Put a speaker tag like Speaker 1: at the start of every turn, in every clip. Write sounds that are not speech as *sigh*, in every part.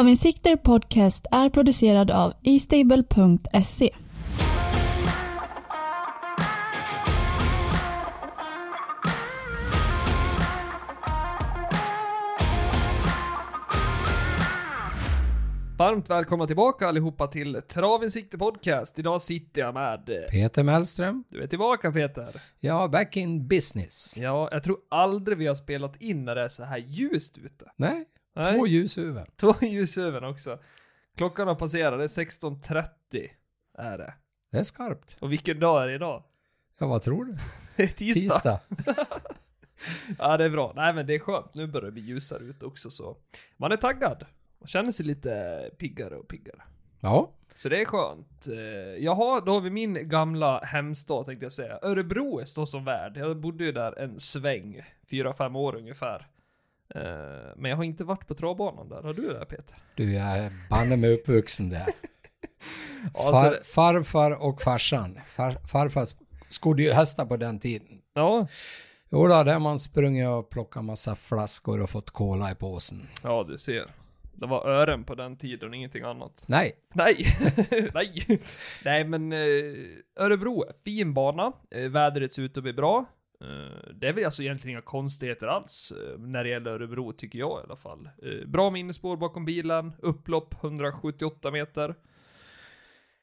Speaker 1: Travinsikter Podcast är producerad av eStable.se.
Speaker 2: Varmt välkomna tillbaka allihopa till Travinsikter Podcast. Idag sitter jag med... eh,
Speaker 3: Peter Mellström.
Speaker 2: Du är tillbaka Peter.
Speaker 3: Ja, back in business.
Speaker 2: Ja, jag tror aldrig vi har spelat in när det är så här ljust ute.
Speaker 3: Nej,
Speaker 2: Nej.
Speaker 3: två ljushuvuden.
Speaker 2: Två ljus i öven också. Klockan har passerat, det är 16.30 är det.
Speaker 3: Det är skarpt.
Speaker 2: Och vilken dag är det idag?
Speaker 3: Ja, vad tror du?
Speaker 2: *laughs* Det är tisdag. Ja, det är bra. Nej, men det är skönt. Nu börjar det bli ljusare ute också så. Man är taggad. Man känner sig lite piggare och piggare.
Speaker 3: Ja,
Speaker 2: Så det är skönt. Eh, Jaha, då har vi min gamla hemstad tänkte jag säga. Örebro står som värd. Jag bodde ju där en sväng, fyra fem år ungefär. Eh, Men jag har inte varit på travbanan där. Har du det Peter?
Speaker 3: du jag är banne mig uppvuxen där.
Speaker 2: *laughs* Ja, så
Speaker 3: Far,
Speaker 2: Alltså, det-
Speaker 3: farfar och farsan. Far, farfar skodde ju hästar på den tiden.
Speaker 2: Ja,
Speaker 3: Jo, då, där har man sprungit och plockat massa flaskor och fått cola i påsen.
Speaker 2: ja du ser. Det var ören på den tiden, ingenting annat.
Speaker 3: Nej,
Speaker 2: Nej, *laughs* nej. Nej men eh, Örebro, fin bana. Eh, Vädret ser ut att bli bra. Eh, Det är väl alltså egentligen inga konstigheter alls eh, när det gäller Örebro tycker jag i alla fall. Eh, Bra med innespår bakom bilen, upplopp 178 meter.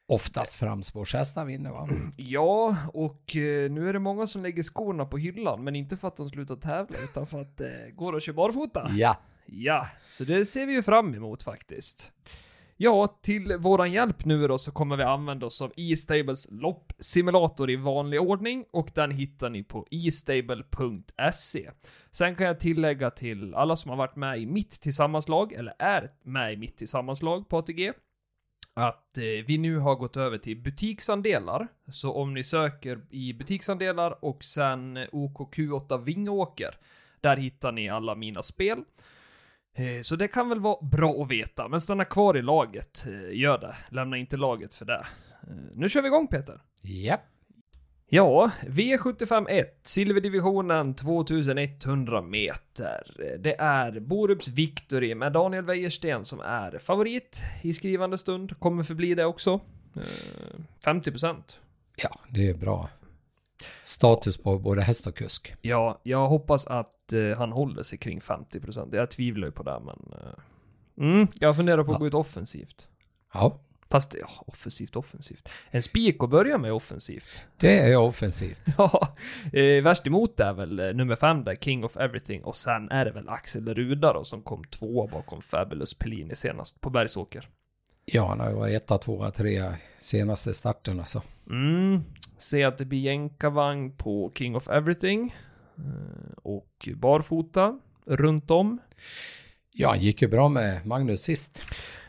Speaker 3: oftast framspårshästar
Speaker 2: *laughs*
Speaker 3: vinner va?
Speaker 2: Ja, och eh, nu är det många som lägger skorna på hyllan, men inte för att de slutar tävla utan för att det går att köra barfota.
Speaker 3: Ja,
Speaker 2: Ja, så det ser vi ju fram emot faktiskt. Ja, till våran hjälp nu då så kommer vi använda oss av E-Stables loppsimulator i vanlig ordning och den hittar ni på estable.se. Sen kan jag tillägga till alla som har varit med i mitt tillsammanslag eller är med i mitt tillsammanslag på ATG att eh, vi nu har gått över till butiksandelar. Så om ni söker i butiksandelar och sen OKQ8 Vingåker, där hittar ni alla mina spel. Eh, Så det kan väl vara bra att veta, men stanna kvar i laget. eh, Gör det. Lämna inte laget för det. Eh, Nu kör vi igång Peter.
Speaker 3: ja.
Speaker 2: Ja, V75 silverdivisionen 2100 meter. Eh, Det är Borups Victory med Daniel Wäjersten som är favorit i skrivande stund. Kommer förbli det också. Eh, 50%.
Speaker 3: ja, det är bra. Status på både häst och kusk.
Speaker 2: Ja, jag hoppas att eh, han håller sig kring 50%. Jag tvivlar ju på det, men... eh, Mm, jag funderar på att gå ut offensivt.
Speaker 3: Ja,
Speaker 2: Fast ja, offensivt, offensivt. En spik att börja med
Speaker 3: *laughs*
Speaker 2: offensivt.
Speaker 3: det är offensivt.
Speaker 2: Ja, eh, värst emot är väl eh, nummer fem där, King of Everything. Och sen är det väl Axel Ruda då, som kom två bakom Fabulous Pellini senast på Bergsåker.
Speaker 3: Ja, han har ju varit etta, tvåa, trea senaste starten alltså.
Speaker 2: Mm, ser att det blir jänkarvagn på King of Everything. Eh, och barfota runt om.
Speaker 3: Ja, han gick ju bra med Magnus sist.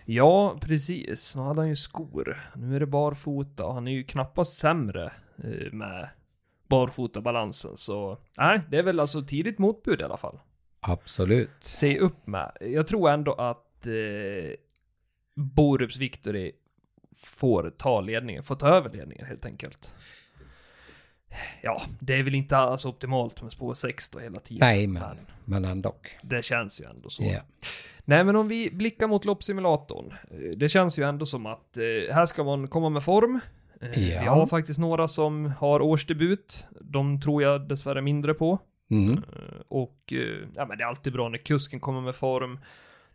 Speaker 2: Ja, precis. Nu hade han ju skor. Nu är det barfota och han är ju knappast sämre eh, med barfotabalansen. Så nej, det är väl alltså tidigt motbud i alla fall.
Speaker 3: Absolut.
Speaker 2: Se upp med. Jag tror ändå att eh, Borups Victory får ta ledningen, får ta över ledningen helt enkelt. Ja, det är väl inte alls optimalt med spår 6 då hela tiden.
Speaker 3: Nej, men, men ändå.
Speaker 2: Det känns ju ändå så.
Speaker 3: Ja.
Speaker 2: Nej, men om vi blickar mot loppsimulatorn. eh, Det känns ju ändå som att eh, här ska man komma med form. Eh,
Speaker 3: Ja.
Speaker 2: Vi har faktiskt några som har årsdebut. De tror jag dessvärre mindre på.
Speaker 3: Mm.
Speaker 2: Eh, Och eh, ja, men det är alltid bra när kusken kommer med form.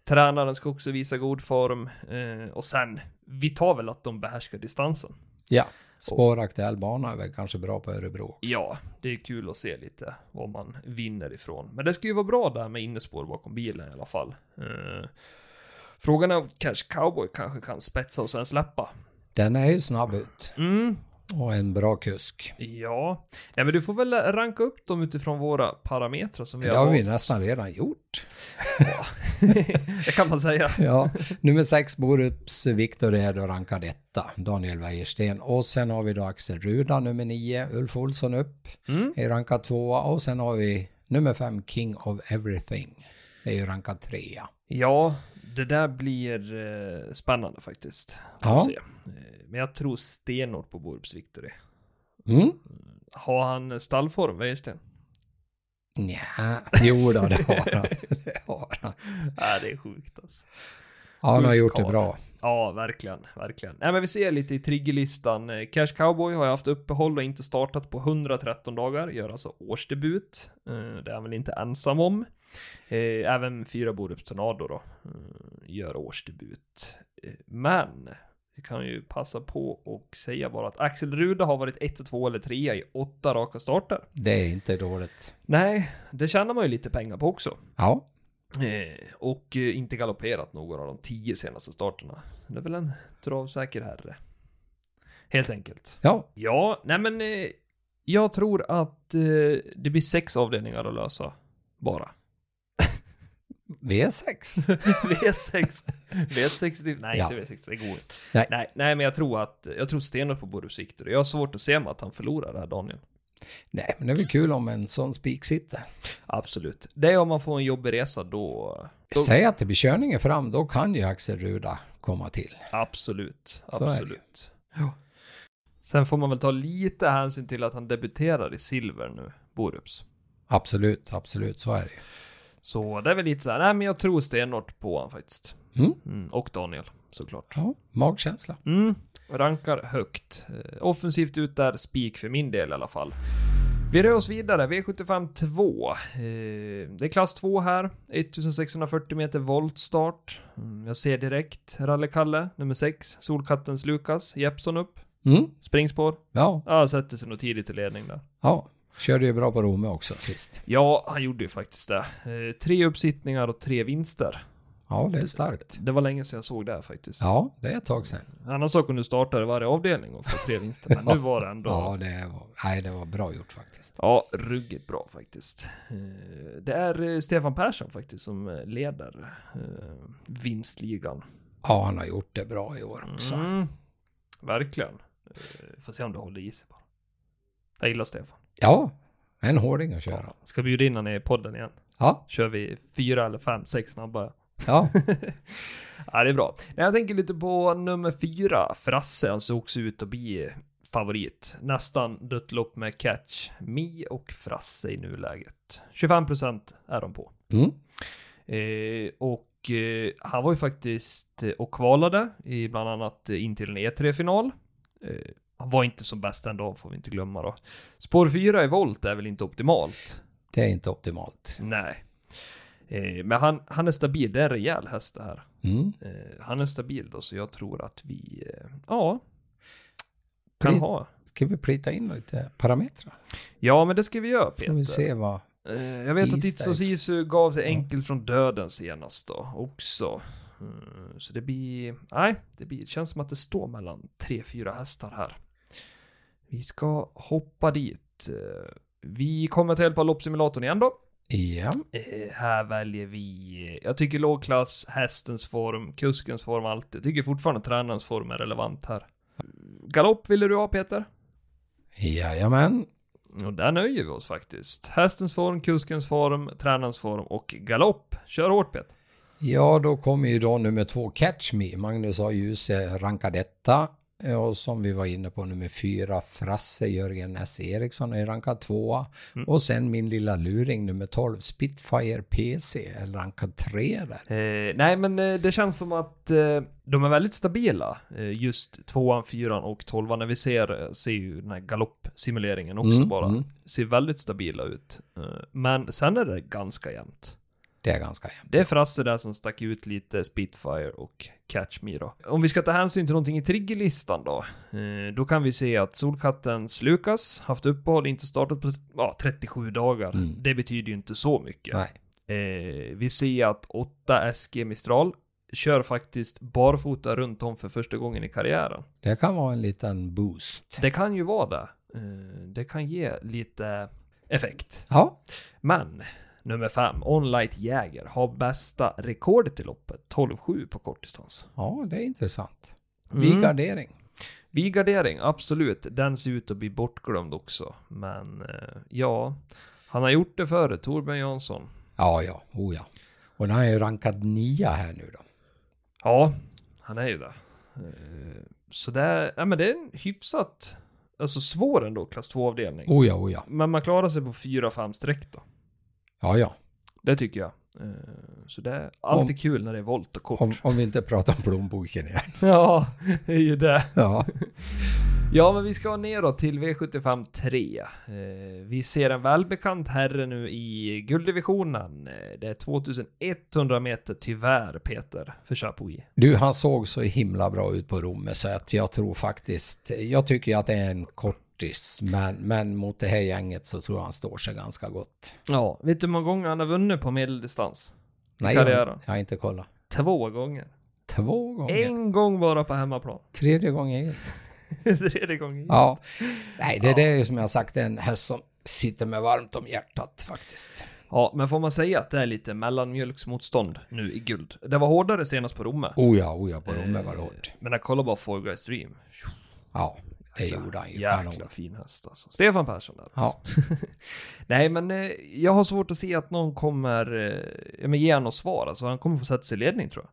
Speaker 2: Tränaren ska också visa god form. Eh, Och sen, vi tar väl att de behärskar distansen.
Speaker 3: ja. Spåraktuell bana är väl kanske bra på Örebro.
Speaker 2: Ja, det är kul att se lite vad man vinner ifrån. Men det ska ju vara bra där med innespår bakom bilen i alla fall. Eh, frågan är om Cash Cowboy kanske kan spetsa och sen släppa.
Speaker 3: Den är ju snabb ut
Speaker 2: Mm,
Speaker 3: och en bra kusk.
Speaker 2: ja. Nej, men du får väl ranka upp dem utifrån våra parametrar som vi
Speaker 3: Det
Speaker 2: har.
Speaker 3: har vi
Speaker 2: valt. *laughs*
Speaker 3: nästan redan gjort.
Speaker 2: det kan man säga.
Speaker 3: Ja, nummer sex Borups Viktor är då rankad etta, Daniel Wäjersten. Och sen har vi då Axel Ruda, nummer nio, Ulf Olsson upp,
Speaker 2: Mm.
Speaker 3: är rankad tvåa. Och sen har vi nummer fem, King of Everything. Det är ju rankad trea.
Speaker 2: Ja, det där blir eh, spännande faktiskt. Får
Speaker 3: Ja.
Speaker 2: se. Eh, Men jag tror stenhårt på Borups Victory.
Speaker 3: Mm.
Speaker 2: Har han stallform, Wäjersten? *laughs*
Speaker 3: Nja, jo då, det har han. Det har han.
Speaker 2: Ja, det är sjukt alltså.
Speaker 3: Ja, han har gjort det
Speaker 2: guldkar.
Speaker 3: bra.
Speaker 2: Ja, verkligen, verkligen. Nej, men vi ser lite i triggerlistan. Eh, Cash Cowboy har ju haft uppehåll och inte startat på 113 dagar, gör alltså årsdebut. Eh, Det är han väl inte ensam om. Eh, Även fyra Borups Tornado då eh, gör årsdebut. Eh, Men vi kan ju passa på och säga bara att Axel Ruda har varit 1, 2 eller 3 i åtta raka starter.
Speaker 3: Det är inte dåligt.
Speaker 2: Nej, det tjänar man ju lite pengar på också.
Speaker 3: Ja,
Speaker 2: Eh, och eh, inte galopperat någon av de tio senaste starterna. Det är väl en travsäker herre. Helt enkelt.
Speaker 3: ja,
Speaker 2: Ja, nej men eh, jag tror att eh, det blir sex avdelningar att lösa.
Speaker 3: *laughs*
Speaker 2: Bara.
Speaker 3: V6.
Speaker 2: V6. V60. typ- Nej,
Speaker 3: Ja.
Speaker 2: inte V60. Det går inte.
Speaker 3: Nej.
Speaker 2: Nej, nej, men jag tror att jag tror stenhårt på Borup Victor. Jag har svårt att se mig att han förlorar det här Daniel.
Speaker 3: Nej, men det är väl kul om en sån spik sitter.
Speaker 2: Absolut. Det är om man får en jobbig resa då. då
Speaker 3: Säg att det blir körningen fram, då kan ju Axel Ruda komma till.
Speaker 2: Absolut,
Speaker 3: är det ju.
Speaker 2: absolut. Sen får man väl ta lite hänsyn till att han debuterar i silver nu, Borups.
Speaker 3: Absolut, absolut, så är det ju.
Speaker 2: Så det är väl lite så här, nej men jag tror stenhårt på honom faktiskt.
Speaker 3: Mm.
Speaker 2: och Daniel, såklart.
Speaker 3: Ja, magkänsla.
Speaker 2: Mm. Rankar högt. Eh, Offensivt ut där, spik för min del i alla fall. Vi rör oss vidare, V75 2. Eh, det är klass 2 här, 1640 meter voltstart. Mm, jag ser direkt Ralle-Kalle, nummer 6, Solkattens Lukas, Jeppson upp,
Speaker 3: Mm,
Speaker 2: springspår.
Speaker 3: ja,
Speaker 2: Ja, han sätter sig nog tidigt i ledning där.
Speaker 3: ja. Körde ju bra på Rome också sist.
Speaker 2: Ja, han gjorde ju faktiskt det. Eh, tre uppsittningar och tre vinster.
Speaker 3: Ja, det är starkt.
Speaker 2: Det var länge sedan jag såg det här faktiskt.
Speaker 3: Ja, det är ett tag sedan.
Speaker 2: Annan sak om du startar i varje avdelning och får tre vinster, men
Speaker 3: Ja.
Speaker 2: nu var det ändå...
Speaker 3: Ja,
Speaker 2: Ja.
Speaker 3: det var, nej, det var bra gjort faktiskt.
Speaker 2: ruggigt bra faktiskt. Eh, Det är eh, Stefan Persson faktiskt som eh, leder eh, vinstligan.
Speaker 3: Ja, han har gjort det bra i år också.
Speaker 2: Mm, verkligen. Eh, Får se om det håller i sig bara. Jag gillar Stefan.
Speaker 3: Ja, en hårding att köra.
Speaker 2: Ska bjuda in honom i podden igen.
Speaker 3: Ja,
Speaker 2: Kör vi fyra eller fem, sex snabba.
Speaker 3: ja, *laughs*
Speaker 2: ja, det är bra. Nej, jag tänker lite på nummer fyra, Frasse. Han såg också ut att bli favorit. Nästan dött lopp med Catch Me och Frasse i nuläget. 25% är de på.
Speaker 3: mm,
Speaker 2: Eh, och eh, han var ju faktiskt eh, och kvalade i bland annat eh, in till en E3-final. Eh, han var inte som bäst ändå, får vi inte glömma då. Spår 4 i volt är väl inte optimalt.
Speaker 3: det är inte optimalt.
Speaker 2: Nej. Eh, men han, han är stabil, det är en rejäl häst det här.
Speaker 3: Mm.
Speaker 2: Eh, han är stabil då, så jag tror att vi, eh, ja, kan
Speaker 3: Plit-
Speaker 2: ha.
Speaker 3: Ska vi plita in lite parametrar?
Speaker 2: Ja, men det ska vi göra
Speaker 3: Får
Speaker 2: Peter.
Speaker 3: vi se vad...
Speaker 2: Eh, jag vet att
Speaker 3: Is
Speaker 2: Itzo
Speaker 3: där.
Speaker 2: Sisu gav sig
Speaker 3: Ja.
Speaker 2: enkelt från döden senast då också. Mm, så det blir, nej, det blir, det känns som att det står mellan tre fyra hästar här. Vi ska hoppa dit. Eh, Vi kommer till hjälp av loppsimulatorn igen då.
Speaker 3: Ja,
Speaker 2: Eh, här väljer vi, eh, jag tycker lågklass, hästens form, kuskens form, allt. Jag tycker fortfarande tränarens form är relevant här. Galopp ville du ha Peter?
Speaker 3: jajamän.
Speaker 2: Och där nöjer vi oss faktiskt. Hästens form, kuskens form, tränarens form och galopp. Kör hårt Peter.
Speaker 3: Ja, då kommer ju då nummer två Catch Me. Magnus har Ljuse Rankadetta. Eh, Och som vi var inne på, nummer fyra Frasse Jörgen S. Eriksson är rankad tvåa.
Speaker 2: Mm.
Speaker 3: Och sen min lilla luring nummer 12 Spitfire PC är rankad tre där.
Speaker 2: Eh, nej men eh, det känns som att eh, de är väldigt stabila. Eh, just tvåan, fyran och tolvan. När vi ser, eh, ser ju den här galoppsimuleringen också
Speaker 3: Mm,
Speaker 2: bara.
Speaker 3: mm.
Speaker 2: Ser väldigt stabila ut. Eh, men sen är det ganska jämnt.
Speaker 3: Det är ganska jämnt.
Speaker 2: Det är Frasse där som stack ut lite, Spitfire och Catch Me då. Om vi ska ta hänsyn till någonting i triggerlistan då, eh, då kan vi se att Solkattens Lukas haft uppehåll, inte startat på ja, 37 dagar.
Speaker 3: Mm.
Speaker 2: Det betyder ju inte så mycket.
Speaker 3: Nej.
Speaker 2: Eh, vi ser att 8 SG Mistral kör faktiskt barfota runt om för första gången i karriären.
Speaker 3: Det kan vara en liten boost.
Speaker 2: Det kan ju vara det. Eh, det kan ge lite effekt.
Speaker 3: Ja,
Speaker 2: Men nummer fem, Onlight Jäger, har bästa rekordet i loppet, 12-7 på kortdistans.
Speaker 3: ja det är intressant. Vid
Speaker 2: Mm.
Speaker 3: gardering.
Speaker 2: Vid gardering, absolut. Den ser ut att bli bortglömd också. Men eh, ja, han har gjort det före, Torbjörn Jansson.
Speaker 3: Ja, ja, oh ja. Och den är ju rankad nia här nu då.
Speaker 2: Ja, han är ju det. Eh, Så det är, ja, men det är en hyfsat, alltså svår ändå, klass
Speaker 3: Mm.
Speaker 2: 2-avdelning.
Speaker 3: Oh ja, oh ja.
Speaker 2: Men man klarar sig på 4-5 streck då.
Speaker 3: Ja, ja.
Speaker 2: Det tycker jag. Eh, Så det är alltid kul när det är volt och kort.
Speaker 3: Om, om vi inte pratar om plånboken igen.
Speaker 2: *laughs*
Speaker 3: *laughs*
Speaker 2: Ja, det är ju det.
Speaker 3: Ja.
Speaker 2: Ja, men vi ska neråt till V75 3. Eh, vi ser en välbekant herre nu i gulddivisionen. Eh, Det är 2100 meter, tyvärr Peter, för Chapuis.
Speaker 3: Du, han såg så himla bra ut på Romme så att jag tror faktiskt, jag tycker att det är en kortis, men, men mot det här gänget så tror jag han står sig ganska gott.
Speaker 2: Ja, vet du hur många gånger han har vunnit på medeldistans?
Speaker 3: Nej, jag,
Speaker 2: Karriären.
Speaker 3: jag har inte kollat.
Speaker 2: Två gånger.
Speaker 3: Två gånger.
Speaker 2: En gång bara på hemmaplan.
Speaker 3: Tredje gången gilt.
Speaker 2: *laughs* Tredje gången.
Speaker 3: Ja. Nej, det, det är ju som jag har sagt en häst som sitter med varmt om hjärtat faktiskt.
Speaker 2: ja, men får man säga att det är lite mellanmjölksmotstånd nu i guld? Det var hårdare senast på Romme.
Speaker 3: Oh ja, oh ja, på Romme
Speaker 2: Eh,
Speaker 3: var det hårt.
Speaker 2: Men jag kollar bara Four Guys Dream.
Speaker 3: Ja, det gjorde han ju.
Speaker 2: Jäkla
Speaker 3: Kanon.
Speaker 2: fin häst alltså. Stefan Persson där.
Speaker 3: Ja.
Speaker 2: Nej, men eh, jag har svårt att se att någon kommer eh, ja, men ge honom svar. Alltså, han kommer få sätta sig i ledning tror jag.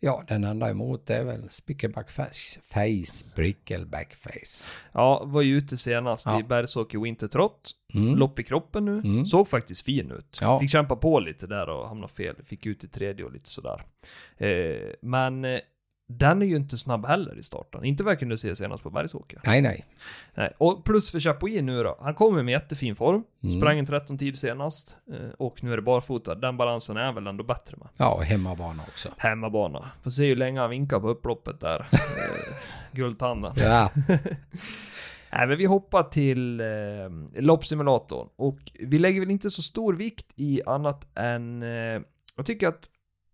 Speaker 3: ja, den enda emot är väl Spickelback Face, face Brickelback Face.
Speaker 2: Ja, var ju ute senast
Speaker 3: Ja.
Speaker 2: i Bergsåker Wintertrot.
Speaker 3: Mm.
Speaker 2: Lopp i kroppen nu.
Speaker 3: Mm.
Speaker 2: Såg faktiskt fin ut.
Speaker 3: Ja.
Speaker 2: Fick kämpa på lite där och hamnade fel. Fick ut i tredje och lite sådär. Eh, men eh, den är ju inte snabb heller i starten. Inte vad jag kunde se senast på Bergsåker.
Speaker 3: Nej, nej.
Speaker 2: Nej. Och plus för Chapuis nu då. Han kommer med jättefin form.
Speaker 3: Mm.
Speaker 2: Sprang en 13 tid senast. Eh, och nu är det barfota. Den balansen är väl ändå bättre med.
Speaker 3: Ja, och hemmabana också.
Speaker 2: hemmabana. Får se hur länge han vinkar på upploppet
Speaker 3: *laughs*
Speaker 2: där. Eh, Guldtanden.
Speaker 3: Ja,
Speaker 2: Nej, men vi hoppar till eh, loppsimulatorn och vi lägger väl inte så stor vikt i annat än eh, jag tycker att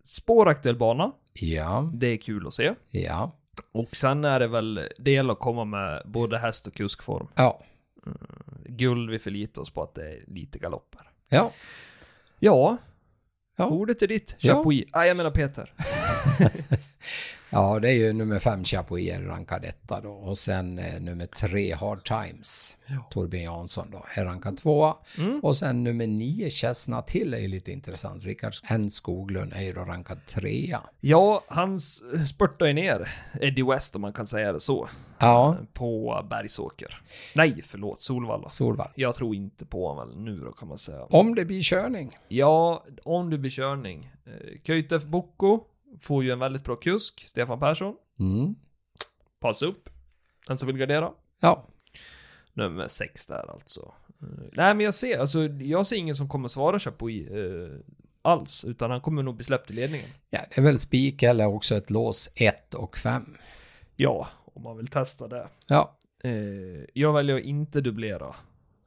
Speaker 2: spåraktuell bana,
Speaker 3: ja,
Speaker 2: det är kul att se.
Speaker 3: ja.
Speaker 2: Och sen är det väl del att komma med både häst och kuskform.
Speaker 3: ja.
Speaker 2: Guld, vi förlitar oss på att det är lite galopper.
Speaker 3: ja.
Speaker 2: Ja,
Speaker 3: Ja.
Speaker 2: ordet är ditt.
Speaker 3: Ja.
Speaker 2: Chapuis. Ah, jag menar Peter.
Speaker 3: Ja, det är ju nummer fem Chapuis rankad etta då och sen eh, nummer tre Hard Times, Torbjörn Jansson då, är rankad tvåa. Och sen nummer nio Chesna till är ju lite intressant. Rickard N Skoglund är ju då rankad trea.
Speaker 2: Ja, han s- spurtar ju ner Eddie West om man kan säga det så.
Speaker 3: Ja,
Speaker 2: På Bergsåker. Nej, förlåt, Solvalla.
Speaker 3: Solvall.
Speaker 2: Jag tror inte på honom väl nu då kan man säga.
Speaker 3: Om det blir körning.
Speaker 2: Ja, om det blir körning. Eh, Köytef Boko får ju en väldigt bra kusk. Stefan Persson.
Speaker 3: Mm.
Speaker 2: Pass upp. Den som vill gardera.
Speaker 3: Ja,
Speaker 2: Nummer sex där alltså. Eh, nej, men jag ser, alltså, jag ser ingen som kommer svara sig på i, eh, alls, utan han kommer nog bli släppt i ledningen.
Speaker 3: ja det är väl spik eller också ett lås ett och fem.
Speaker 2: Ja, om man vill testa det.
Speaker 3: Ja,
Speaker 2: Eh, jag väljer att inte dubblera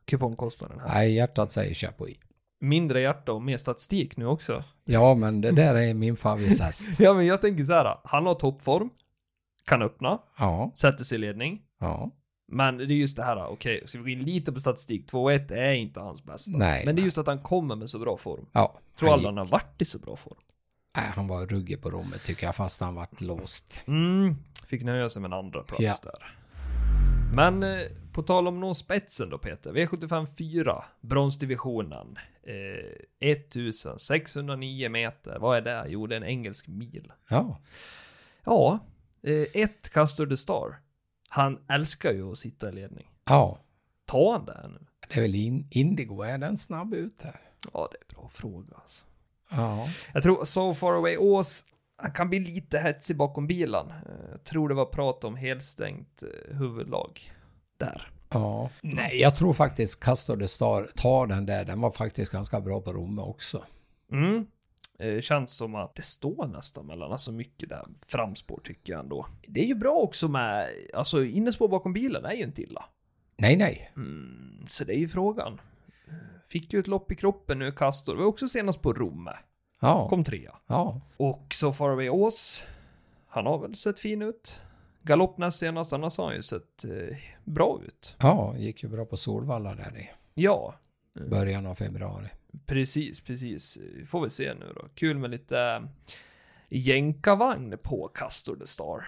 Speaker 2: kupongkostnaden här.
Speaker 3: nej, hjärtat säger Chapuis.
Speaker 2: Mindre hjärta och mer statistik nu också.
Speaker 3: Ja, men det där är min favorithäst.
Speaker 2: *laughs* Ja, men jag tänker så här. Han har toppform, kan öppna,
Speaker 3: Ja,
Speaker 2: sätter sig i ledning.
Speaker 3: ja,
Speaker 2: Men det är just det här, okej, ska vi gå in lite på statistik? 2-1 är inte hans bästa.
Speaker 3: Nej,
Speaker 2: men det är
Speaker 3: nej.
Speaker 2: just att han kommer med så bra form.
Speaker 3: ja.
Speaker 2: Tror
Speaker 3: Han
Speaker 2: aldrig han har varit i så bra form.
Speaker 3: Nej, han var ruggig på rummet tycker jag, fast han vart låst.
Speaker 2: Mm, fick nöja sig med en andra plats
Speaker 3: Ja.
Speaker 2: där. Men eh, på tal om nå spetsen då Peter, V75 4, bronsdivisionen. Eh, 1609 meter, vad är det? Jo, det är en engelsk mil.
Speaker 3: Ja,
Speaker 2: Ja, eh, ett Castor the Star. Han älskar ju att sitta i ledning.
Speaker 3: ja.
Speaker 2: Ta han det här nu?
Speaker 3: Det är väl in, Indigo, är den snabb ut där?
Speaker 2: Ja, det är en bra fråga alltså.
Speaker 3: Ja.
Speaker 2: Jag tror So Far Away Ås, han kan bli lite hetsig bakom bilen. Eh, Jag tror det var prat om helstängt eh, huvudlag där.
Speaker 3: ja. Nej, jag tror faktiskt Castor de Star tar den där. Den var faktiskt ganska bra på Romme också.
Speaker 2: Mm. Eh, känns som att det står nästan mellan, alltså mycket där framspår tycker jag ändå. Det är ju bra också med, alltså innespår bakom bilen är ju inte illa.
Speaker 3: Nej, nej.
Speaker 2: Mm, så det är ju frågan. Eh, Fick ju ett lopp i kroppen nu, Castor. Var också senast på Romme.
Speaker 3: Ja.
Speaker 2: Kom trea.
Speaker 3: Ja.
Speaker 2: Och så far away Ås. Han har väl sett fin ut. Galopp näst senast, annars har han ju sett eh, bra ut.
Speaker 3: Ja, gick ju bra på Solvalla där i
Speaker 2: Ja,
Speaker 3: början av februari.
Speaker 2: precis, precis. Får vi se nu då. Kul med lite eh, jänkarvagn på Castor the Star.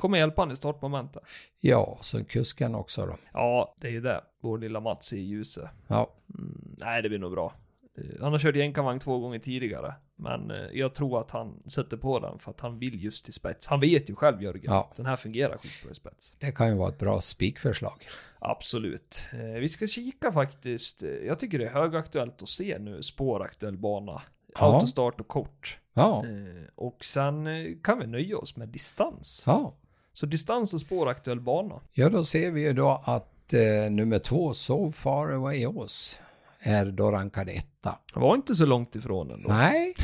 Speaker 2: Kommer hjälpa han i startmomentet.
Speaker 3: Ja, så kusken också då.
Speaker 2: Ja, det är ju det. Vår lilla Mats i ljuset.
Speaker 3: Ja.
Speaker 2: Mm, nej, det blir nog bra. Eh, Han har kört jänkarvagn två gånger tidigare, men eh, jag tror att han sätter på den för att han vill just till spets. Han vet ju själv Jörgen,
Speaker 3: Ja.
Speaker 2: att den här fungerar skitbra i spets.
Speaker 3: Det kan ju vara ett bra spikförslag.
Speaker 2: Absolut. Eh, Vi ska kika faktiskt. eh, Jag tycker det är högaktuellt att se nu spåraktuell bana
Speaker 3: Ja.
Speaker 2: autostart och kort.
Speaker 3: Ja.
Speaker 2: Eh, Och sen eh, kan vi nöja oss med distans.
Speaker 3: ja.
Speaker 2: Så distans och spåraktuell bana.
Speaker 3: Ja, då ser vi ju då att eh, nummer två, So far away Oz, är då rankad etta.
Speaker 2: Det var inte så långt ifrån ändå.
Speaker 3: Nej,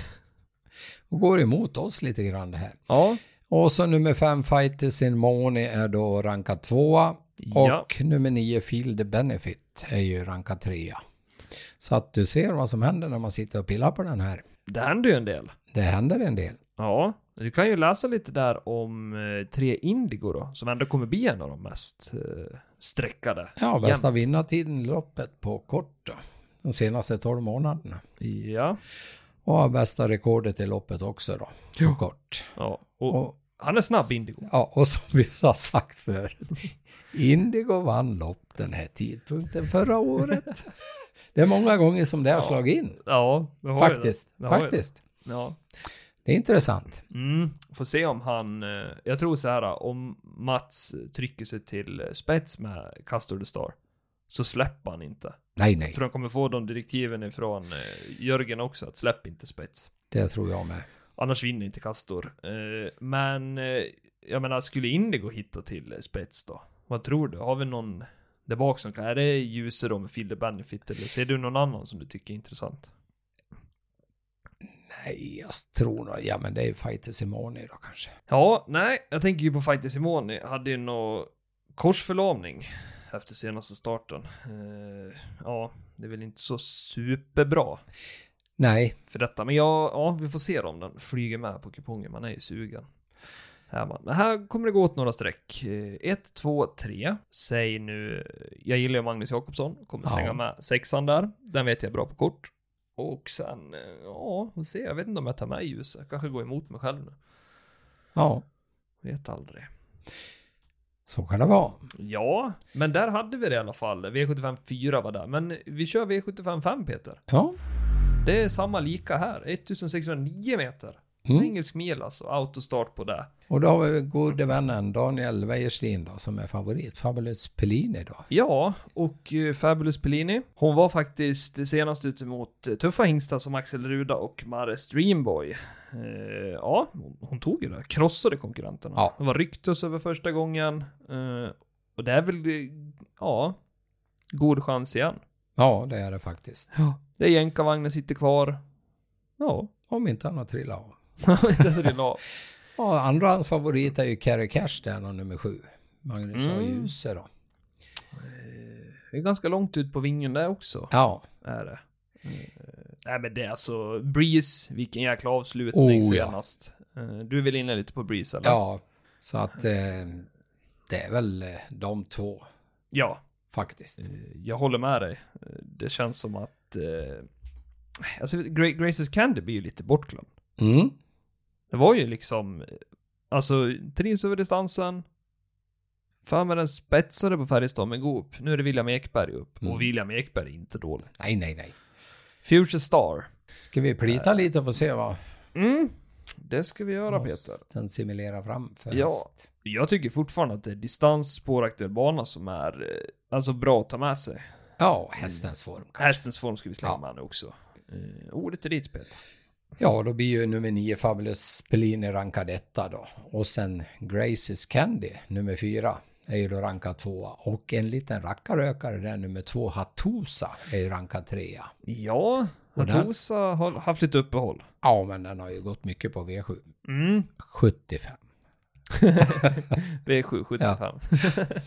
Speaker 3: och går emot oss lite grann det här.
Speaker 2: Ja,
Speaker 3: Och så nummer fem, Fighters in Money, är då rankad tvåa. Och
Speaker 2: ja.
Speaker 3: nummer nio, Field Benefit, är ju rankad trea. Så att du ser vad som händer när man sitter och pillar på den här.
Speaker 2: det händer ju en del.
Speaker 3: Det händer en del.
Speaker 2: Ja, du kan ju läsa lite där om eh, tre Indigo då, som ändå kommer bli en av de mest eh, sträckade.
Speaker 3: Ja, bästa
Speaker 2: Jämt.
Speaker 3: vinnartiden i loppet på kort då. De senaste 12 månaderna.
Speaker 2: Ja,
Speaker 3: Och har bästa rekordet i loppet också då. På
Speaker 2: Ja.
Speaker 3: kort.
Speaker 2: ja. Och,
Speaker 3: Och,
Speaker 2: han är snabb Indigo.
Speaker 3: ja, och som vi har sagt förut. Indigo vann lopp den här tidpunkten förra året. Det är många gånger som det har
Speaker 2: Ja,
Speaker 3: slagit in.
Speaker 2: Ja, det har ju
Speaker 3: Faktiskt.
Speaker 2: det. Det har ju
Speaker 3: Faktiskt.
Speaker 2: det. Ja.
Speaker 3: Det är intressant.
Speaker 2: Mm. Får se om han, eh, jag tror så här, om Mats trycker sig till eh, spets med Castor the Star, så släpper han inte.
Speaker 3: Nej,
Speaker 2: Jag
Speaker 3: nej.
Speaker 2: tror han kommer få de direktiven ifrån eh, Jörgen också, att släpp inte spets.
Speaker 3: Det tror jag med.
Speaker 2: Annars vinner inte Castor. Eh, Men eh, jag menar, skulle Indigo hitta till eh, spets då? Vad tror du? Har vi någon där bak som kan... Är det Ljuse då med Fielder Benefit eller ser du någon annan som du tycker är intressant?
Speaker 3: Nej, jag tror nog... Ja, men det är ju Fighters Simone då kanske.
Speaker 2: Ja, nej, jag tänker ju på Fighter Simoni. Hade ju nå korsförlamning efter senaste starten. Eh, Ja, det är väl inte så superbra
Speaker 3: Nej,
Speaker 2: för detta. Men ja, ja, vi får se om den flyger med på kupongen. Man är ju sugen. Här, man. Men här kommer det gå åt några streck. Eh, 1, 2, 3. Säg nu, jag gillar ju Magnus Jakobsson. Kommer
Speaker 3: Ja.
Speaker 2: slänga med sexan där. Den vet jag är bra på kort. Och sen, eh, ja, vi får se. Jag vet inte om jag tar med ljuset. Kanske går emot mig själv nu.
Speaker 3: ja.
Speaker 2: Vet aldrig.
Speaker 3: Så kan det vara.
Speaker 2: Ja, men där hade vi det i alla fall. V75 4 var där. Men vi kör V75 5 Peter.
Speaker 3: Ja.
Speaker 2: Det är samma lika här. 1609 meter.
Speaker 3: Mm.
Speaker 2: Engelsk mil alltså. Autostart på det.
Speaker 3: Och då har vi gode vännen Daniel Wäjersten då, som är favorit. Fabulous Pellini då.
Speaker 2: Ja, och eh, Fabulous Pellini. Hon var faktiskt senast ute mot eh, tuffa hingstar som Axel Ruda och Mare Streamboy. Eh, ja, hon, hon tog ju det. Krossade konkurrenterna.
Speaker 3: Ja.
Speaker 2: Det var ryktes över första gången. Eh, och det är väl, eh, ja, god chans igen.
Speaker 3: Ja, det är det faktiskt.
Speaker 2: Ja. Det är jänkarvagnen sitter kvar. Ja, *laughs* Alltså,
Speaker 3: Om inte han har trillat av.
Speaker 2: det är det la.
Speaker 3: Ja, andra hans favorit är ju Carrie Cash där, då, nummer sju. Magnus
Speaker 2: Mm.
Speaker 3: och Djuse då.
Speaker 2: Det är ganska långt ut på vingen där också.
Speaker 3: Ja,
Speaker 2: Är det. Eh, Nej men det är alltså Breeze, vilken jäkla avslutning
Speaker 3: Oh, ja.
Speaker 2: senast. Eh, Du vill inne lite på Breeze eller?
Speaker 3: ja. Så att eh, det är väl eh, de två
Speaker 2: ja.
Speaker 3: faktiskt.
Speaker 2: Eh, Jag håller med dig. Eh, Det känns som att... Eh, alltså Gra- Graces Candy blir ju lite bortglömd.
Speaker 3: Mm.
Speaker 2: Det var ju liksom... eh, Alltså trivs över distansen. Fan med den spetsade på Färjestad med Goop. Nu är det William Ekberg upp.
Speaker 3: Mm.
Speaker 2: Och William Ekberg är inte dålig.
Speaker 3: Nej, nej, nej.
Speaker 2: Future Star.
Speaker 3: Ska vi plita lite och få se vad
Speaker 2: Mm. Det ska vi göra Peter.
Speaker 3: den simulerar fram för
Speaker 2: Ja.
Speaker 3: häst?
Speaker 2: Jag tycker fortfarande att det är distans, spåraktuell bana som är eh, alltså bra att ta med sig.
Speaker 3: Ja, hästens form kanske.
Speaker 2: Hästens form ska vi slänga
Speaker 3: Ja.
Speaker 2: med nu också. Eh, ordet är ditt Peter.
Speaker 3: Ja, då blir ju nummer nio Fabulous Pellini rankad etta då. Och sen Graces Candy, nummer fyra, är ju då rankad tvåa. Och en liten rackarökare där, nummer två, Hatusa, är ju rankad trea.
Speaker 2: Ja,
Speaker 3: Och där-
Speaker 2: Hatosa har haft lite uppehåll.
Speaker 3: Ja, men den har ju gått mycket på V7.
Speaker 2: Mm.
Speaker 3: 75.
Speaker 2: V7, 75. *laughs*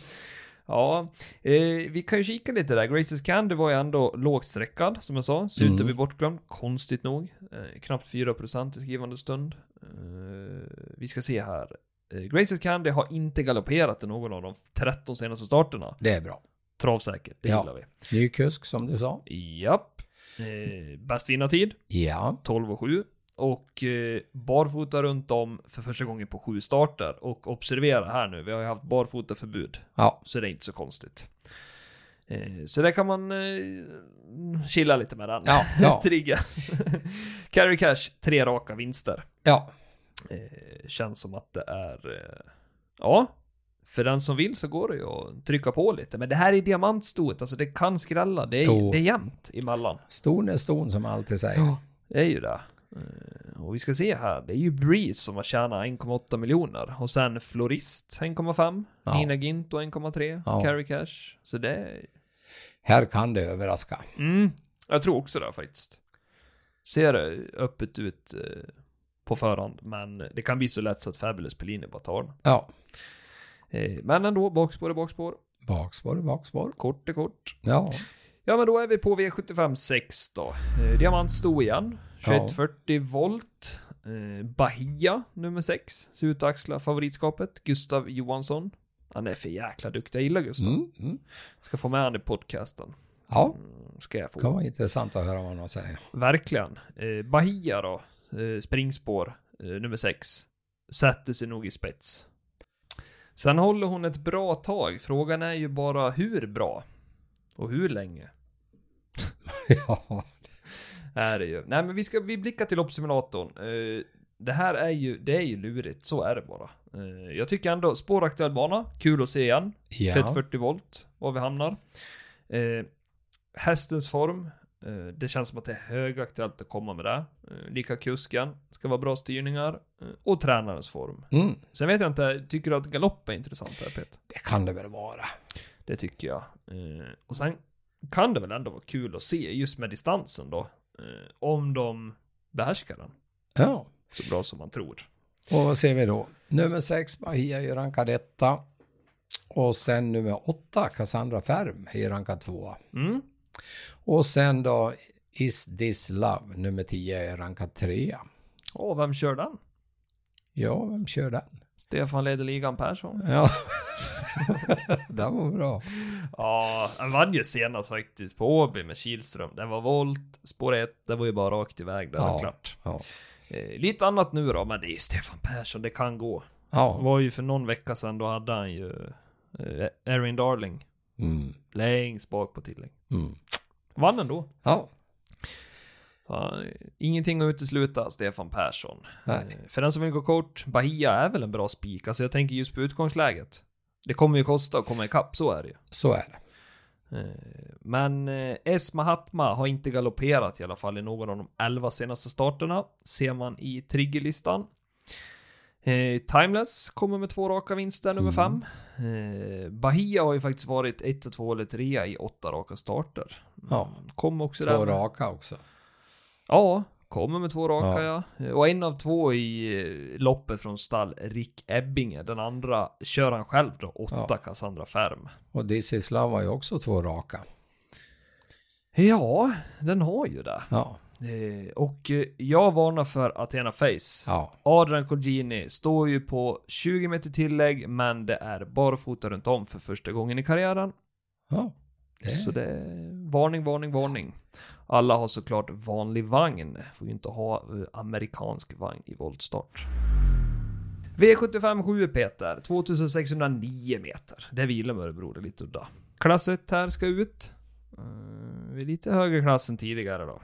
Speaker 2: Ja. eh, vi kan ju kika lite där. Graces Candy var ju ändå lågt sträckad, som jag sa. Ser ut att
Speaker 3: Mm.
Speaker 2: bli bortglömd, konstigt nog. Eh, knappt 4% i skrivande stund. Eh, vi ska se här. Eh, Graces Candy har inte galopperat i någon av de 13 senaste starterna.
Speaker 3: Det är bra.
Speaker 2: Travsäkert, det
Speaker 3: Ja.
Speaker 2: gillar vi.
Speaker 3: Ny kusk som du sa.
Speaker 2: Japp. Eh, bäst vinnartid,
Speaker 3: Ja,
Speaker 2: 12 och 7. Och eh, barfota runt om för första gången på sju starter. Och observera här nu, vi har ju haft barfota förbud.
Speaker 3: ja,
Speaker 2: Så det är inte så konstigt. Eh, så där kan man eh, chilla lite med den.
Speaker 3: ja, ja,
Speaker 2: Trigga. *laughs* Carry Cash, tre raka vinster.
Speaker 3: ja.
Speaker 2: Eh, känns som att det är... Eh, ja. För den som vill så går det ju att trycka på lite. Men det här är diamantstoet, alltså det kan skrälla. Det är,
Speaker 3: Jo.
Speaker 2: det är jämnt emellan.
Speaker 3: Ston är ston som man alltid säger.
Speaker 2: Det är ju det. Och vi ska se här, det är ju Breeze som har tjänat 1,8 miljoner. Och sen Florist 1,5.
Speaker 3: Ja.
Speaker 2: Nina Ginto 1,3.
Speaker 3: Ja.
Speaker 2: Carry Cash. Så det är...
Speaker 3: Här kan det överraska.
Speaker 2: Mm, jag tror också det faktiskt. Ser öppet ut eh, på förhand, men det kan bli så lätt så att Fabulous Pellini bara tar den.
Speaker 3: Ja,
Speaker 2: Eh, men ändå, bakspår är bakspår.
Speaker 3: bakspår, bakspår.
Speaker 2: Kort är kort.
Speaker 3: Ja,
Speaker 2: Ja, men då är vi på V75 6 då. Eh, Diamant stod igen. 2140 volt. Eh, Bahia, nummer 6. Ser ut att axla favoritskapet. Gustav Johansson. Han är för jäkla duktig. Jag gillar Gustav.
Speaker 3: mm, mm.
Speaker 2: Ska få med han i podcasten.
Speaker 3: ja.
Speaker 2: Mm, Ska jag få.
Speaker 3: det kan vara intressant att höra vad han säger. *laughs*
Speaker 2: Verkligen. Eh, Bahia då, eh, springspår eh, nummer 6. Sätter sig nog i spets. Sen håller hon ett bra tag. Frågan är ju bara hur bra. Och hur länge
Speaker 3: ja,
Speaker 2: är det ju. Nej men vi ska, vi blickar till loppsimulatorn. Eh, det här är ju, det är ju lurigt. Så är det bara. Eh, jag tycker ändå, spåraktuell bana. Kul att se igen.
Speaker 3: ja.
Speaker 2: 30-40 volt, var vi hamnar. Eh, hästens form, eh, det känns som att det är högaktuellt att komma med det. Eh, lika kusken, ska vara bra styrningar. Eh, och tränarens form.
Speaker 3: Mm,
Speaker 2: Sen vet jag inte, tycker du att galopp är intressant här Peter?
Speaker 3: det kan det väl vara.
Speaker 2: Det tycker jag. Eh, och sen kan det väl ändå vara kul att se just med distansen då. Eh, om de behärskar den
Speaker 3: Ja,
Speaker 2: så bra som man tror.
Speaker 3: och vad ser vi då? Nummer sex, Bahia är rankad etta. Och sen nummer åtta, Cassandra Färm är rankad tvåa.
Speaker 2: Mm.
Speaker 3: Och sen då Is This Love, nummer 10, är rankad trea.
Speaker 2: Och vem kör den?
Speaker 3: Ja, vem kör den?
Speaker 2: Stefan leder ligan Persson.
Speaker 3: Ja, *laughs* den var bra.
Speaker 2: Ja, han vann ju senast faktiskt på Åby med Kihlström. Den var volt, spår 1, det var ju bara rakt iväg där
Speaker 3: Ja.
Speaker 2: och klart.
Speaker 3: Ja.
Speaker 2: Eh, lite annat nu då, men det är ju Stefan Persson, det kan gå. Det
Speaker 3: ja.
Speaker 2: var ju för någon vecka sedan, då hade han ju eh, Erin Darling
Speaker 3: Mm.
Speaker 2: längst bak på tillägg.
Speaker 3: Mm.
Speaker 2: Vann ändå.
Speaker 3: ja.
Speaker 2: Så, han- ingenting att utesluta, Stefan Persson.
Speaker 3: Nej.
Speaker 2: Eh, För den som vill gå kort, Bahia är väl en bra spik. Alltså jag tänker just på utgångsläget. Det kommer ju kosta att komma ikapp, så är det ju.
Speaker 3: Så är det.
Speaker 2: Eh, Men eh, S. Mahatma har inte galopperat i alla fall i någon av de 11 senaste starterna. Ser man i triggerlistan. Eh, Timeless kommer med två raka vinster, nummer
Speaker 3: Mm.
Speaker 2: fem. Eh, Bahia har ju faktiskt varit 1, 2 eller 3 i åtta raka starter.
Speaker 3: Ja.
Speaker 2: Kom också
Speaker 3: Två
Speaker 2: Mm. där. med-
Speaker 3: raka också.
Speaker 2: Ja, kommer med två raka ja. Eh,
Speaker 3: Ja.
Speaker 2: Och en av två i eh, loppet från stall Rick Ebbinge. Den andra kör han själv då, åtta
Speaker 3: Ja.
Speaker 2: Cassandra Färm.
Speaker 3: Och This Is Love var ju också två raka.
Speaker 2: Ja, den har ju det.
Speaker 3: Ja.
Speaker 2: Eh, och eh, jag varnar för Athena Face.
Speaker 3: Ja.
Speaker 2: Adrian Colgjini står ju på 20 meter tillägg, men det är barfota runt om för första gången i karriären.
Speaker 3: ja. Det
Speaker 2: Så det är varning, varning, varning. Alla har såklart vanlig vagn. Får ju inte ha eh, amerikansk vagn i voltstart. V75 7 Peter, 2609 meter. Där vilar med Örebro, det är lite udda. Klass 1 här ska ut. Eh, Vi är lite högre klass än tidigare då.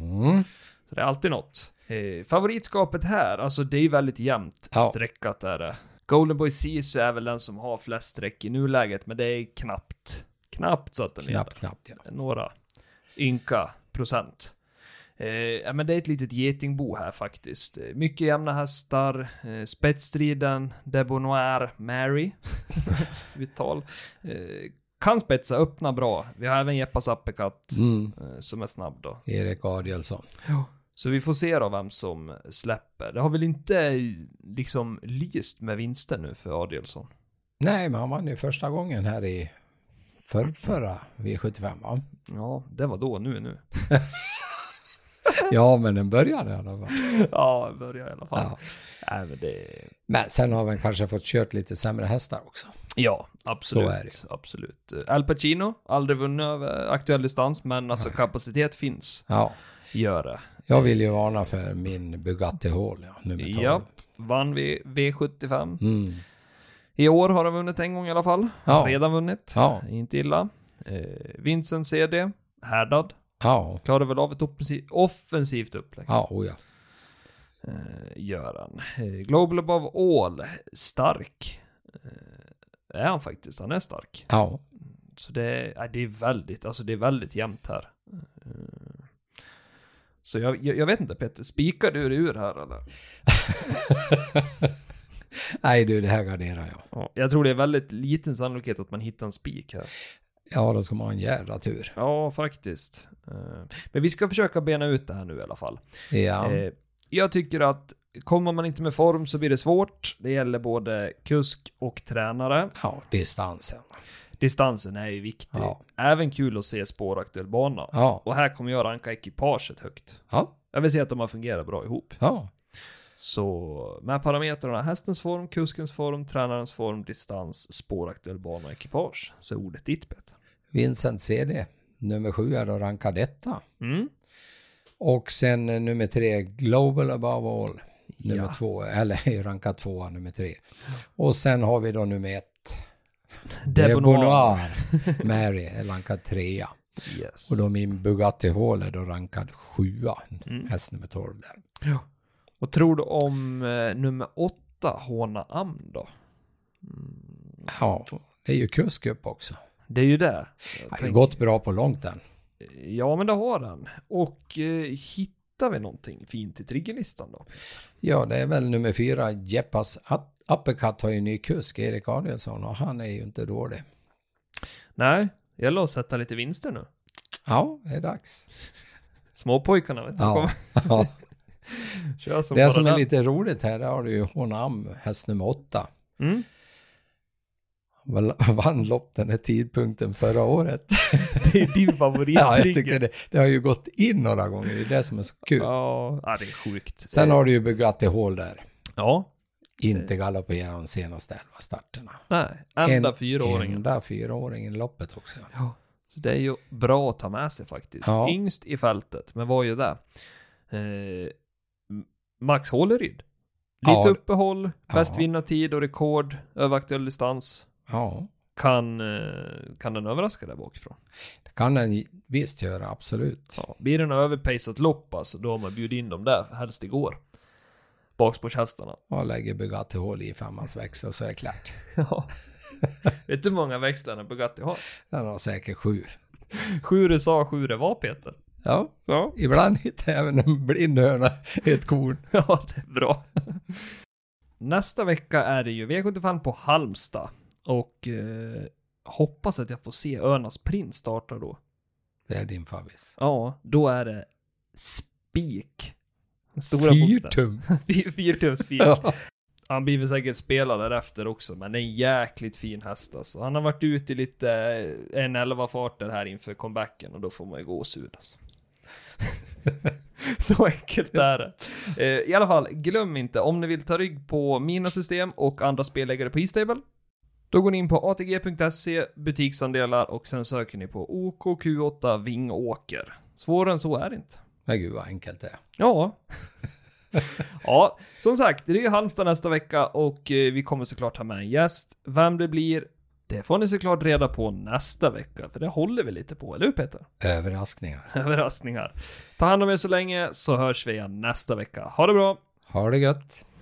Speaker 3: Mm.
Speaker 2: Så det är alltid något. Eh, favoritskapet här, alltså det är ju väldigt jämnt
Speaker 3: Ja.
Speaker 2: streckat är det. Golden Boy Sisu är väl den som har flest streck i nuläget, men det är knappt. Knappt så att den leder.
Speaker 3: Knappt, knappt. Ja.
Speaker 2: Några ynka procent. Eh, ja, men det är ett litet getingbo här faktiskt. Eh, Mycket jämna hästar, eh, spetsstriden, Debonoir, *laughs* Mary, Vital. Eh, kan spetsa, öppna bra. Vi har även Jeppa Zappekat
Speaker 3: Mm.
Speaker 2: eh, som är snabb då.
Speaker 3: Erik Adielsson.
Speaker 2: Så vi får se då vem som släpper. Det har väl inte liksom lyst med vinster nu för Adielsson?
Speaker 3: Nej, men han vann ju första gången här i förrförra V75 va?
Speaker 2: Ja, det var då, nu är nu.
Speaker 3: Ja, men den började i alla fall.
Speaker 2: *laughs* ja, börjar i alla fall.
Speaker 3: Ja.
Speaker 2: Nej, men det...
Speaker 3: Men sen har vi kanske fått kört lite sämre hästar också.
Speaker 2: Ja, absolut.
Speaker 3: Så är det.
Speaker 2: Absolut. Eh, Al Pacino, aldrig vunnit över aktuell distans, men alltså kapacitet finns.
Speaker 3: Ja,
Speaker 2: Gör det.
Speaker 3: jag vill ju varna för min Bugatti Hall, ja, nummer 12.
Speaker 2: Ja, vann vi V75.
Speaker 3: Mm.
Speaker 2: I år har han vunnit en gång i alla fall.
Speaker 3: Ja.
Speaker 2: Redan vunnit.
Speaker 3: Ja.
Speaker 2: Inte illa. Eh, Vincent CD, härdad.
Speaker 3: Ja,
Speaker 2: Klarar väl av ett offensi- offensivt upplägg.
Speaker 3: ja, oh ja.
Speaker 2: Eh, gör han. Eh, Global above all, stark. Eh, är han faktiskt, han är stark.
Speaker 3: ja.
Speaker 2: Så det, ja, det är väldigt, alltså det är väldigt jämnt här. Eh, Så jag, jag, jag vet inte Petter, spikar du dig ur här eller?
Speaker 3: Nej du, det här garderar jag.
Speaker 2: Ja, jag tror det är väldigt liten sannolikhet att man hittar en spik här.
Speaker 3: Ja, då ska man ha en jävla tur.
Speaker 2: Ja, faktiskt. Eh, Men vi ska försöka bena ut det här nu i alla fall.
Speaker 3: Ja,
Speaker 2: Eh, Jag tycker att kommer man inte med form så blir det svårt. Det gäller både kusk och tränare.
Speaker 3: ja distansen.
Speaker 2: Distansen är ju viktig.
Speaker 3: Ja.
Speaker 2: Även kul att se spåraktuell bana.
Speaker 3: Ja,
Speaker 2: Och här kommer jag ranka ekipaget högt.
Speaker 3: ja,
Speaker 2: Jag vill se att de har fungerat bra ihop.
Speaker 3: ja.
Speaker 2: Så med parametrarna hästens form, kuskens form, tränarens form, distans, spåraktuell bana och ekipage. Så är ordet ditt Peter.
Speaker 3: Vincent CD, nummer sju är då rankad etta.
Speaker 2: Mm.
Speaker 3: Och sen eh, nummer tre, Global Above All. Nummer
Speaker 2: Ja.
Speaker 3: två, *laughs* eller rankad tvåa, nummer tre. Och sen har vi då nummer ett.
Speaker 2: De
Speaker 3: Debonoir. *laughs* Mary är rankad trea.
Speaker 2: Yes.
Speaker 3: Och då min Bugatti Hall är då rankad sjua.
Speaker 2: Mm.
Speaker 3: Häst nummer tolv där.
Speaker 2: Vad tror du om eh, nummer åtta, Hona Am då? Mm.
Speaker 3: Ja, det är ju kusk upp också.
Speaker 2: Det är ju det. Jag
Speaker 3: Det har ju
Speaker 2: tänker-
Speaker 3: gått bra på långt den.
Speaker 2: Ja, men det har han. Och eh, hittar vi någonting fint i triggerlistan då?
Speaker 3: Ja, det är väl nummer fyra, Jeppas At- Uppercut har ju ny kusk, Erik Adielsson, och han är ju inte dålig.
Speaker 2: Nej, gäller att sätta lite vinster nu.
Speaker 3: Ja, det är dags.
Speaker 2: Småpojkarna vet du,
Speaker 3: Ja.
Speaker 2: kommer
Speaker 3: *laughs* ja.
Speaker 2: köra som bara
Speaker 3: Det som är
Speaker 2: den.
Speaker 3: lite roligt här, där har du ju Honam, häst nummer åtta.
Speaker 2: Mm.
Speaker 3: Väl- *laughs* Vann lopp den här tidpunkten förra året. *laughs*
Speaker 2: Det är din
Speaker 3: Ja,
Speaker 2: favorittrigger.
Speaker 3: jag tycker det, det har ju gått in några gånger, det är det som är så kul.
Speaker 2: Ja, ja, det är sjukt.
Speaker 3: Sen
Speaker 2: Det-
Speaker 3: har du ju Bugatti Hall där.
Speaker 2: Ja,
Speaker 3: Inte galopperar de senaste elva starterna.
Speaker 2: nej. Enda
Speaker 3: En-
Speaker 2: fyraåringen.
Speaker 3: Enda fyraåringen i loppet också.
Speaker 2: Ja. Så det är ju bra att ta med sig faktiskt.
Speaker 3: Ja.
Speaker 2: Yngst i fältet, men var ju det. Eh, Max Håleryd. Lite
Speaker 3: Ja.
Speaker 2: uppehåll, bäst
Speaker 3: Ja.
Speaker 2: vinnartid och rekord över aktuell distans.
Speaker 3: Ja,
Speaker 2: Kan, eh, kan den överraska där bakifrån?
Speaker 3: det kan den visst göra, absolut.
Speaker 2: Ja. Blir den överpacat lopp alltså, då har man bjudit in dem där, helst igår. Bakspårshästarna.
Speaker 3: och lägger Bugatti hål i femmans växel så är det klart.
Speaker 2: *laughs* Ja. Vet du hur många växlar en Bugatti har?
Speaker 3: Den har säkert sju.
Speaker 2: Sju det sa, sju det var Peter.
Speaker 3: Ja,
Speaker 2: Ja.
Speaker 3: ibland hittar även en blind höna i ett korn.
Speaker 2: *laughs* Ja, det är bra. *laughs* Nästa vecka är det ju V75 på Halmstad och eh, hoppas att jag får se Önas prins starta då.
Speaker 3: Det är din favvis.
Speaker 2: Ja, då är det spik. Den Stora bokstäver.
Speaker 3: Fyrtum.
Speaker 2: *laughs* Fy- Fyrtumsspik.
Speaker 3: Ja.
Speaker 2: Han blir väl säkert spelad därefter också, men det är en jäkligt fin häst alltså. Han har varit ute i lite eh, en 11 farter här inför comebacken och då får man ju gåshud alltså. *laughs* Så enkelt är det. Eh, I alla fall, glöm inte om ni vill ta rygg på mina system och andra spelläggare på Eastable. Då går ni in på atg.se, E, butiksandelar och sen söker ni på OKQ8 Vingåker. Svårare än så är det inte.
Speaker 3: Men gud vad enkelt det är.
Speaker 2: Ja. *laughs* ja, som sagt, det är ju Halmstad nästa vecka och eh, vi kommer såklart ha med en gäst. Vem det blir, det får ni såklart reda på nästa vecka, för det håller vi lite på, eller hur Peter?
Speaker 3: Överraskningar.
Speaker 2: Överraskningar. Ta hand om er så länge, så hörs vi igen nästa vecka. Ha det bra!
Speaker 3: Ha det gött.